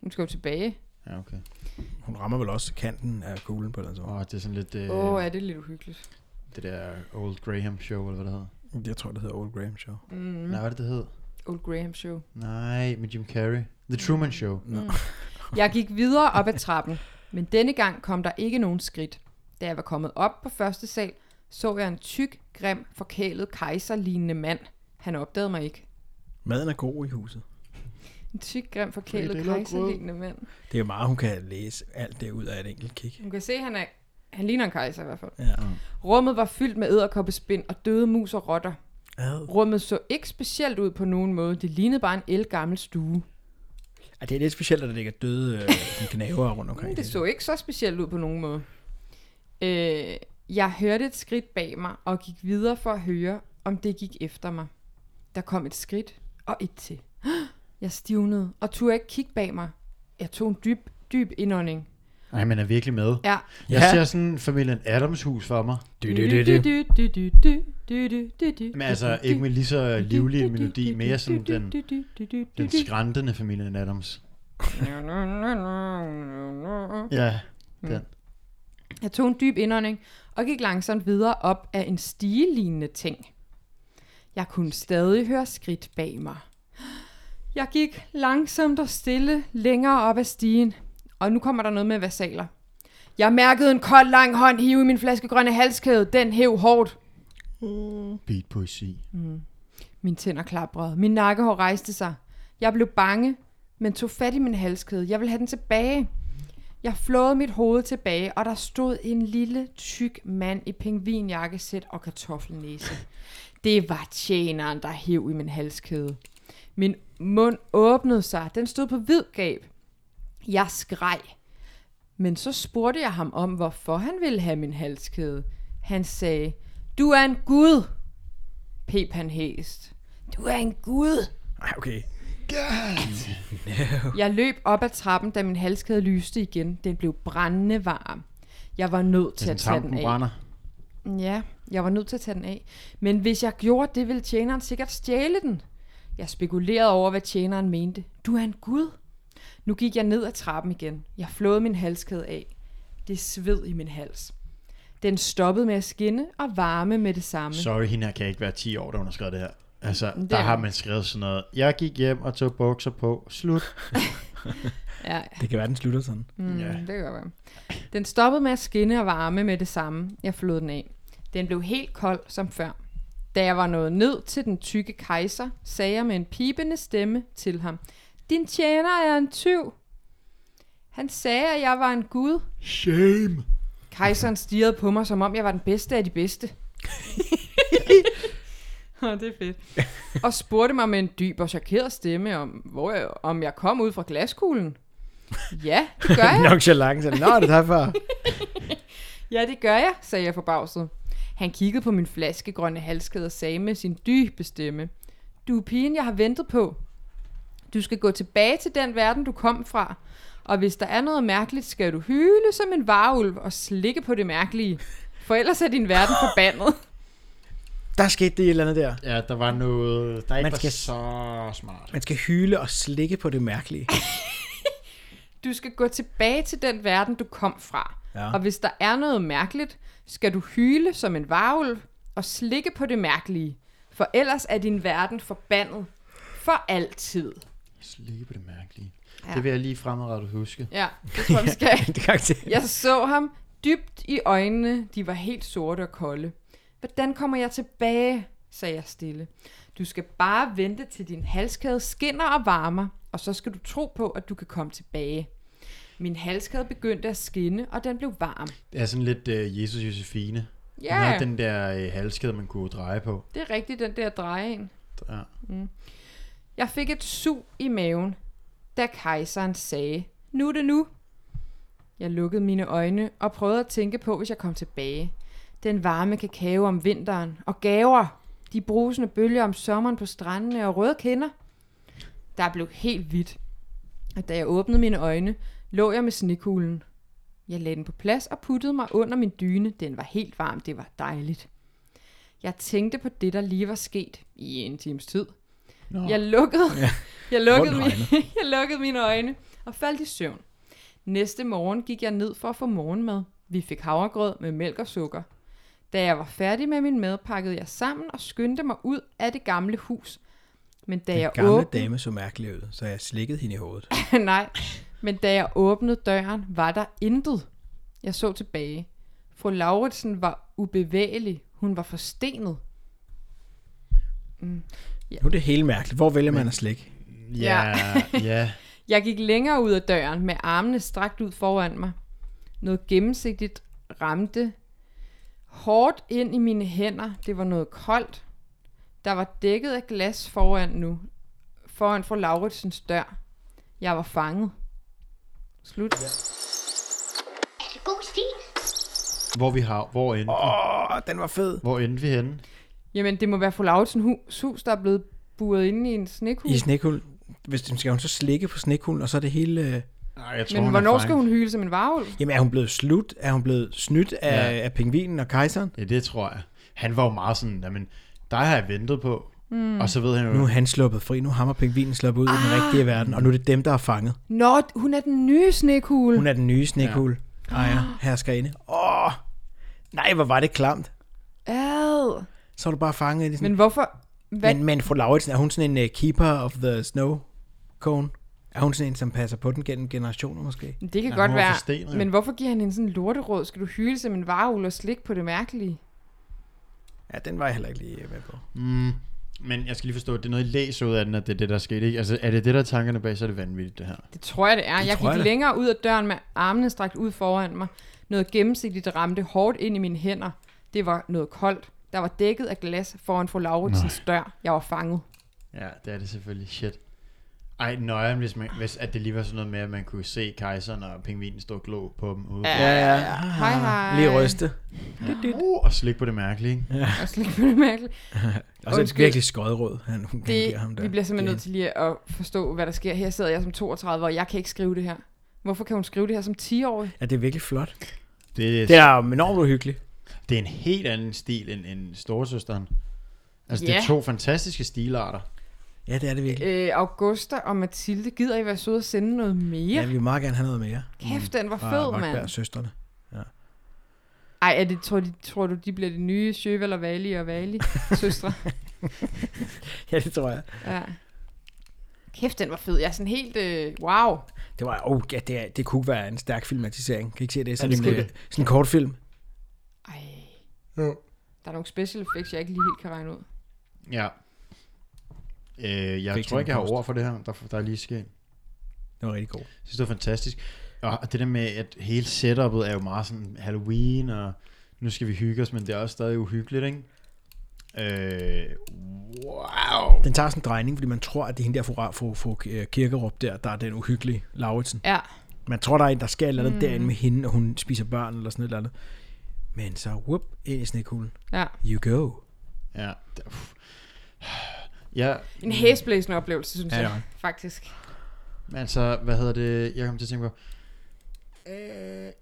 [SPEAKER 2] Hun skal jo tilbage.
[SPEAKER 4] Ja, okay.
[SPEAKER 3] Hun rammer vel også kanten af kuglen på den måde.
[SPEAKER 4] Åh, det er sådan lidt øh,
[SPEAKER 2] Åh, øh. oh, ja, det er lidt uhyggeligt.
[SPEAKER 4] det der Old Graham Show, eller hvad det hedder.
[SPEAKER 3] Jeg tror, det hedder Old Graham Show.
[SPEAKER 4] Mm. Nej, hvad er det, det hed?
[SPEAKER 2] Old Graham Show.
[SPEAKER 4] Nej, med Jim Carrey. The Truman Show. Mm.
[SPEAKER 2] Jeg gik videre op ad trappen, men denne gang kom der ikke nogen skridt. Da jeg var kommet op på første sal, så jeg en tyk, grim, forkælet, kejserlignende mand. Han opdagede mig ikke.
[SPEAKER 3] Maden er god i huset.
[SPEAKER 2] En tyk, grim, forkælet,
[SPEAKER 4] Frikadeller og brød.
[SPEAKER 2] kejserlignende mand.
[SPEAKER 3] Det er jo meget, hun kan læse alt det ud af et enkelt kig.
[SPEAKER 2] Du kan se, han er... Han ligner en kejser i hvert fald.
[SPEAKER 3] Ja.
[SPEAKER 2] Rummet var fyldt med æderkoppespind og døde mus og rotter.
[SPEAKER 3] Ad.
[SPEAKER 2] Rummet så ikke specielt ud på nogen måde. Det lignede bare en elgammel stue.
[SPEAKER 3] Ej, det er lidt specielt, at der ligger døde øh, sådan knaver rundt omkring.
[SPEAKER 2] Det så ikke så specielt ud på nogen måde. Øh, jeg hørte et skridt bag mig og gik videre for at høre, om det gik efter mig. Der kom et skridt og et til. Jeg stivnede og turde ikke kigge bag mig. Jeg tog en dyb, dyb indånding.
[SPEAKER 4] Nej, man er virkelig med.
[SPEAKER 2] Ja.
[SPEAKER 4] Jeg
[SPEAKER 1] Ja.
[SPEAKER 4] ser sådan familien Adams hus for mig.
[SPEAKER 1] Du, du, du, du.
[SPEAKER 4] Men altså ikke med lige så livlig en melodi, mere sådan den, den skrantende familien Adams. Ja, den.
[SPEAKER 2] Mm. Jeg tog en dyb indånding og gik langsomt videre op af en stigelignende ting. Jeg kunne stadig høre skridt bag mig. Jeg gik langsomt og stille længere op ad stigen. Og nu kommer der noget med vasaler. Jeg mærkede en kold lang hånd hive i min flaskegrønne halskæde. Den hæv hårdt.
[SPEAKER 4] Beat poesi.
[SPEAKER 2] Mm. Mine tænder klaprede. Min nakkehår rejste sig. Jeg blev bange, men tog fat i min halskæde. Jeg ville have den tilbage. Jeg flåede mit hoved tilbage, og der stod en lille, tyk mand i pingvinjakkesæt og kartoffelnæse. Det var tjeneren, der hev i min halskæde. Min mund åbnede sig. Den stod på vid gab. Jeg skreg. Men så spurgte jeg ham om, hvorfor han ville have min halskæde. Han sagde, du er en gud pep han hæst. Du er en gud.
[SPEAKER 3] Ej, okay.
[SPEAKER 2] Jeg løb op ad trappen, da min halskæde lyste igen. Den blev brændende varm. Jeg var nødt til
[SPEAKER 4] Den
[SPEAKER 2] at tage den
[SPEAKER 4] tampen
[SPEAKER 2] af.
[SPEAKER 4] brænder.
[SPEAKER 2] Ja, jeg var nødt til at tage den af. Men hvis jeg gjorde det, ville tjeneren sikkert stjæle den. Jeg spekulerede over, hvad tjeneren mente. Du er en gud. Nu gik jeg ned ad trappen igen. Jeg flåede min halskæde af. Det sved i min hals. Den stoppede med at skinne og varme med det samme.
[SPEAKER 4] Sorry, hende her kan ikke være 10 år, da hun har skrevet det her. Altså,
[SPEAKER 2] Det
[SPEAKER 4] der
[SPEAKER 2] er
[SPEAKER 4] har
[SPEAKER 2] hun.
[SPEAKER 4] man skrevet sådan noget. Jeg gik hjem og tog bukser på. Slut.
[SPEAKER 2] Ja,
[SPEAKER 3] Det kan være, den slutter sådan.
[SPEAKER 2] Mm,
[SPEAKER 4] Ja.
[SPEAKER 2] ja. det kan godt være. Den stoppede med at skinne og varme med det samme. Jeg flod den af. Den blev helt kold som før. Da jeg var nået ned til den tykke kejser, sagde jeg med en pibende stemme til ham. Din tjener er en tyv. Han sagde, at jeg var en gud.
[SPEAKER 4] Shame.
[SPEAKER 2] Kejseren stirrede på mig, som om jeg var den bedste af de bedste. Åh, det er fedt. Og spurgte mig med en dyb og chokeret stemme, om, hvor jeg, om jeg kom ud fra glaskuglen. Ja, det gør jeg.
[SPEAKER 1] Nok så langt. Nå, det er derfor.
[SPEAKER 2] Ja, det gør jeg, sagde jeg forbavset. Han kiggede på min flaskegrønne halskæde og sagde med sin dybe stemme. Du er pigen, jeg har ventet på. Du skal gå tilbage til den verden, du kom fra. Og hvis der er noget mærkeligt, skal du hyle som en varulv og slikke på det mærkelige. For ellers er din verden forbandet.
[SPEAKER 3] Der skete det et eller andet der.
[SPEAKER 4] Ja, der var noget, der ikke
[SPEAKER 3] Man
[SPEAKER 4] var
[SPEAKER 3] skal-
[SPEAKER 4] så smart.
[SPEAKER 3] Man skal hyle og slikke på det mærkelige.
[SPEAKER 2] Du skal gå tilbage til den verden, du kom fra.
[SPEAKER 3] Ja.
[SPEAKER 2] Og hvis der er noget mærkeligt, skal du hyle som en varulv og slikke på det mærkelige. For ellers er din verden forbandet for altid.
[SPEAKER 4] Slikke på det mærkelige. Ja.
[SPEAKER 2] Ja.
[SPEAKER 4] Det vil jeg lige fremadrettet huske.
[SPEAKER 2] Ja, det tror jeg, vi skal.
[SPEAKER 3] det kan jeg ikke se.
[SPEAKER 2] Jeg så ham dybt i øjnene. De var helt sorte og kolde. Hvordan kommer jeg tilbage? sagde jeg stille. Du skal bare vente til din halskæde skinner og varmer, og så skal du tro på, at du kan komme tilbage. Min halskæde begyndte at skinne, og den blev varm.
[SPEAKER 4] Det er sådan lidt uh, Jesus Josefine.
[SPEAKER 2] Ja,
[SPEAKER 4] Hun har den der uh, halskæde, man kunne dreje på.
[SPEAKER 2] det er rigtigt, den der drejeen.
[SPEAKER 4] Ja.
[SPEAKER 2] Jeg fik et sug i maven, da kejseren sagde, nu er det nu. Jeg lukkede mine øjne og prøvede at tænke på, hvis jeg kom tilbage. Den varme kakao om vinteren og gaver. De brusende bølger om sommeren på strandene og røde kinder. Der blev helt hvidt. Og da jeg åbnede mine øjne, lå jeg med snekuglen. Jeg lagde den på plads og puttede mig under min dyne. Den var helt varm. Det var dejligt. Jeg tænkte på det, der lige var sket i en times tid.
[SPEAKER 4] Nå.
[SPEAKER 2] Jeg lukkede, ja. jeg, lukkede
[SPEAKER 3] Rundt
[SPEAKER 2] min, jeg lukkede mine øjne og faldt i søvn. Næste morgen gik jeg ned for at få morgenmad. Vi fik havregrød med mælk og sukker. Da jeg var færdig med min mad, pakkede jeg sammen og skyndte mig ud af det gamle hus. Men da jeg
[SPEAKER 3] Den gamle
[SPEAKER 2] åbnede...
[SPEAKER 3] dame så mærkelig ud, så jeg slikkede hende i hovedet.
[SPEAKER 2] Nej, men da jeg åbnede døren, var der intet. Jeg så tilbage. Fru Lauritsen var ubevægelig. Hun var forstenet.
[SPEAKER 3] Nu er det helt mærkeligt. Hvor vælger man at slikke?
[SPEAKER 4] Ja, ja.
[SPEAKER 2] Jeg gik længere ud af døren med armene strakt ud foran mig. Noget gennemsigtigt ramte hårdt ind i mine hænder. Det var noget koldt. Der var dækket af glas foran nu. Foran fru Lauritsens dør. Jeg var fanget. Slut.
[SPEAKER 5] Er det god stil?
[SPEAKER 4] Hvor vi har, hvor endte, oh.
[SPEAKER 3] Åh, oh, den var fed.
[SPEAKER 4] hvor endte vi henne?
[SPEAKER 2] Jamen, det må være fru Lauritsen hus, hus, der er blevet buret inde i en
[SPEAKER 3] I
[SPEAKER 2] snekugle.
[SPEAKER 3] snekulen. Hvis den skal hun så slikke på snekulen, og så er det hele... øh,
[SPEAKER 4] Nej, jeg tror,
[SPEAKER 2] Men
[SPEAKER 4] hun er
[SPEAKER 2] hvornår
[SPEAKER 4] fine.
[SPEAKER 2] skal hun hyle som en varulv?
[SPEAKER 3] Jamen, er hun blevet slut? Er hun blevet snydt af, ja. af pingvinen og kejseren?
[SPEAKER 4] Ja, det tror jeg. Han var jo meget sådan, jamen, dig har jeg ventet på.
[SPEAKER 2] Hmm.
[SPEAKER 4] Mm. Og så ved han jo,
[SPEAKER 3] Nu er han sluppet fri. Nu har hammer pingvinen sluppet ud ah. i den rigtige verden, og nu er det dem, der er fanget.
[SPEAKER 2] Nå, hun er den nye snekugle.
[SPEAKER 3] Hun er den nye snekugle. Ja. Ejer, herskerinde. Åh, oh, nej, hvor var det klamt.
[SPEAKER 2] Ad.
[SPEAKER 3] Så er du bare fanget i sådan...
[SPEAKER 2] Men hvorfor? Hvad?
[SPEAKER 3] Men, men fru Lauritsen, er hun sådan en uh, keeper of the snow cone? Er hun sådan en, som passer på den gennem generationer måske?
[SPEAKER 2] Men, det kan
[SPEAKER 4] Ja,
[SPEAKER 2] godt
[SPEAKER 4] hun var
[SPEAKER 2] være.
[SPEAKER 4] forstenet, jo.
[SPEAKER 2] men hvorfor giver han hende sådan en lorteråd? Skal du hyle som en varulv og slik på det mærkelige?
[SPEAKER 3] Ja, den var jeg heller ikke lige øh, med på.
[SPEAKER 4] men jeg skal lige forstå, at det er noget, I læser ud af den, at det er det, der skete. Ikke? Altså, er det det, der er tankerne bag, så er det vanvittigt, det her.
[SPEAKER 2] Det tror jeg, det er. jeg
[SPEAKER 3] tror jeg
[SPEAKER 2] gik
[SPEAKER 3] da.
[SPEAKER 2] længere ud af døren med armene strakt ud foran mig. Noget gennemsigtigt ramte hårdt ind i mine hænder. Det var noget koldt. Der var dækket af glas foran fru Lauritsens dør. Jeg var fanget.
[SPEAKER 4] Ja, det er det selvfølgelig. Shit. Ej, nøje, hvis, man, hvis at det lige var sådan noget med, at man kunne se kejseren og pingvinen stå og glo på dem ude. Ja.
[SPEAKER 3] Ja, ja.
[SPEAKER 2] Hej, hej.
[SPEAKER 3] Ah, Lige ryste.
[SPEAKER 4] Uh, og slik på det mærkelige. ikke?
[SPEAKER 2] Og slik på det mærkelige.
[SPEAKER 3] Og så et
[SPEAKER 2] Undskyld.
[SPEAKER 3] virkelig skødråd, han hun giver ham
[SPEAKER 2] Det,
[SPEAKER 3] der.
[SPEAKER 2] vi bliver simpelthen
[SPEAKER 3] Det-
[SPEAKER 2] nødt til lige at forstå, hvad der sker. Her sidder jeg som 32 år, og jeg kan ikke skrive det her. Hvorfor kan hun skrive det her som 10-årig?
[SPEAKER 3] Ja, det er virkelig flot.
[SPEAKER 4] Det,
[SPEAKER 3] Det
[SPEAKER 4] det, er,
[SPEAKER 3] er enormt uhyggeligt.
[SPEAKER 4] det er en helt anden stil end, end storesøsteren. Altså, det
[SPEAKER 2] Ja.
[SPEAKER 4] er to fantastiske stilarter.
[SPEAKER 3] Ja, det er det virkelig.
[SPEAKER 2] Øh, Augusta og Mathilde, gider I være søde og sende noget
[SPEAKER 3] Ja,
[SPEAKER 2] mere?
[SPEAKER 3] vi vil meget gerne have noget mere.
[SPEAKER 2] Kæft, den var
[SPEAKER 3] Fra
[SPEAKER 2] fed,
[SPEAKER 3] Vagtberg og
[SPEAKER 2] mand.
[SPEAKER 3] søstrene.
[SPEAKER 2] Ej, er det, tror, de, tror du, de bliver de nye Sjøvald og Vali og Vali søstre?
[SPEAKER 3] Ja, det tror jeg.
[SPEAKER 2] Ja. Kæft, den var fed. Jeg er sådan helt, øh, wow.
[SPEAKER 3] Det var, oh, ja, det, er, det kunne være en stærk filmatisering. Kan I ikke se det? er Sådan,
[SPEAKER 4] det
[SPEAKER 3] en,
[SPEAKER 4] skulle
[SPEAKER 3] øh, sådan en kortfilm.
[SPEAKER 2] Ej. Der er nogle special effects, jeg ikke lige helt kan regne ud.
[SPEAKER 4] Ja. Øh, jeg
[SPEAKER 3] Fik
[SPEAKER 4] tror
[SPEAKER 3] den
[SPEAKER 4] ikke, jeg har
[SPEAKER 3] post.
[SPEAKER 4] ord for det her, der, der er lige sket.
[SPEAKER 3] Det var rigtig god.
[SPEAKER 4] Jeg synes, det var fantastisk. Og det der med, at hele setupet er jo meget sådan Halloween, og nu skal vi hygge os, men det er også stadig uhyggeligt, ikke? Øh, wow.
[SPEAKER 3] Den tager sådan en drejning, fordi man tror, at det er hende der fru, fru, fru øh, Kirkerup der, der er den uhyggelige Lauritsen.
[SPEAKER 2] Ja,
[SPEAKER 3] Man tror, der er en, der sker et eller andet mm. derinde med hende, og hun spiser børn eller sådan et eller andet. Men så, whoop, ind i snekuglen.
[SPEAKER 2] ja.
[SPEAKER 3] You go.
[SPEAKER 4] Ja. det- uff. Ja,
[SPEAKER 2] En hæsblæsende oplevelse, synes
[SPEAKER 4] Ja,
[SPEAKER 2] jeg,
[SPEAKER 4] det var det.
[SPEAKER 2] faktisk.
[SPEAKER 4] men altså, hvad hedder det, jeg kom til at tænke på. Øh,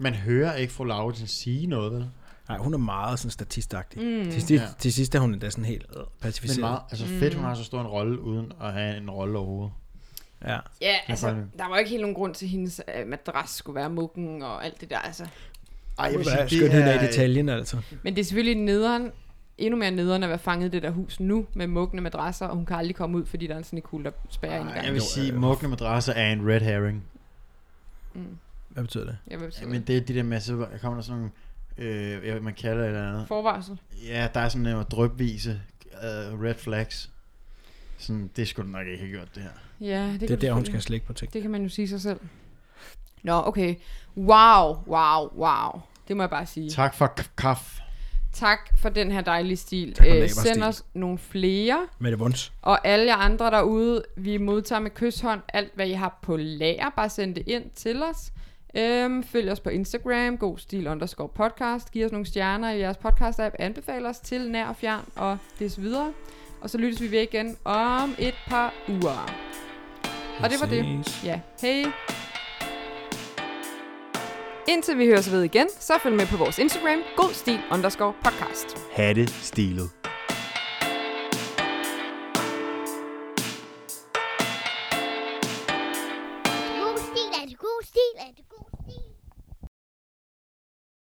[SPEAKER 4] man hører ikke fru Lauritsen sige noget, vel?
[SPEAKER 3] Nej, hun er meget sådan statistagtig. Mm. Til, sidst,
[SPEAKER 4] Ja.
[SPEAKER 3] til sidst er hun endda sådan helt øh,
[SPEAKER 4] Men
[SPEAKER 3] pacificeret.
[SPEAKER 4] meget, altså fedt, hun har så stor en rolle, uden at have en rolle overhovedet.
[SPEAKER 3] Ja.
[SPEAKER 2] Ja, altså,
[SPEAKER 4] faktisk-
[SPEAKER 2] der var ikke helt nogen grund til, at hendes øh, madras skulle være muggen og alt det der, altså.
[SPEAKER 4] Ej,
[SPEAKER 3] Jeg vil sige, skønheden af detaljen, altså.
[SPEAKER 2] Men det er selvfølgelig nederen, endnu mere nederen at være fanget i det der hus nu, med muggende madrasser, og hun kan aldrig komme ud, fordi der er en sådan en kugle, der spærrer en
[SPEAKER 4] Ej, jeg
[SPEAKER 2] gang.
[SPEAKER 4] vil sige, mugne madrasser er en red herring.
[SPEAKER 3] Hvad betyder det?
[SPEAKER 2] Jeg vil sige,
[SPEAKER 4] Men det er de der med, så der kommer der sådan nogle, øh, jeg, man kalder det eller andet.
[SPEAKER 2] Forvarsel.
[SPEAKER 4] Ja, der er sådan nogle drøbvise øh, red flags. Sådan, det skulle du nok ikke have gjort, det her.
[SPEAKER 2] Ja, det,
[SPEAKER 3] Det
[SPEAKER 2] kan
[SPEAKER 3] er
[SPEAKER 2] du
[SPEAKER 3] der, hun
[SPEAKER 2] selvfølgelig-
[SPEAKER 3] skal slække på ting.
[SPEAKER 2] Det kan man jo sige sig selv. Nå, okay. Wow, wow, wow. Det må jeg bare sige.
[SPEAKER 4] Tak for k- kaffe.
[SPEAKER 2] Tak for den her dejlige stil.
[SPEAKER 3] Tak for
[SPEAKER 2] Øh,
[SPEAKER 3] naberstil.
[SPEAKER 2] send os nogle flere.
[SPEAKER 3] Med det vunds.
[SPEAKER 2] Og alle jer andre derude, vi modtager med kysshånd alt, hvad I har på lager. Bare send det ind til os. Øhm, følg os på Instagram, god stil underscore podcast. Giv os nogle stjerner i jeres podcast-app. Anbefal os til nær og fjern og des videre. Og så lyttes vi ved igen om et par uger. Og det var det. Ja, hej. Indtil vi høres ved igen, så følg med på vores Instagram, god stil underscore podcast.
[SPEAKER 4] Hatte stilet.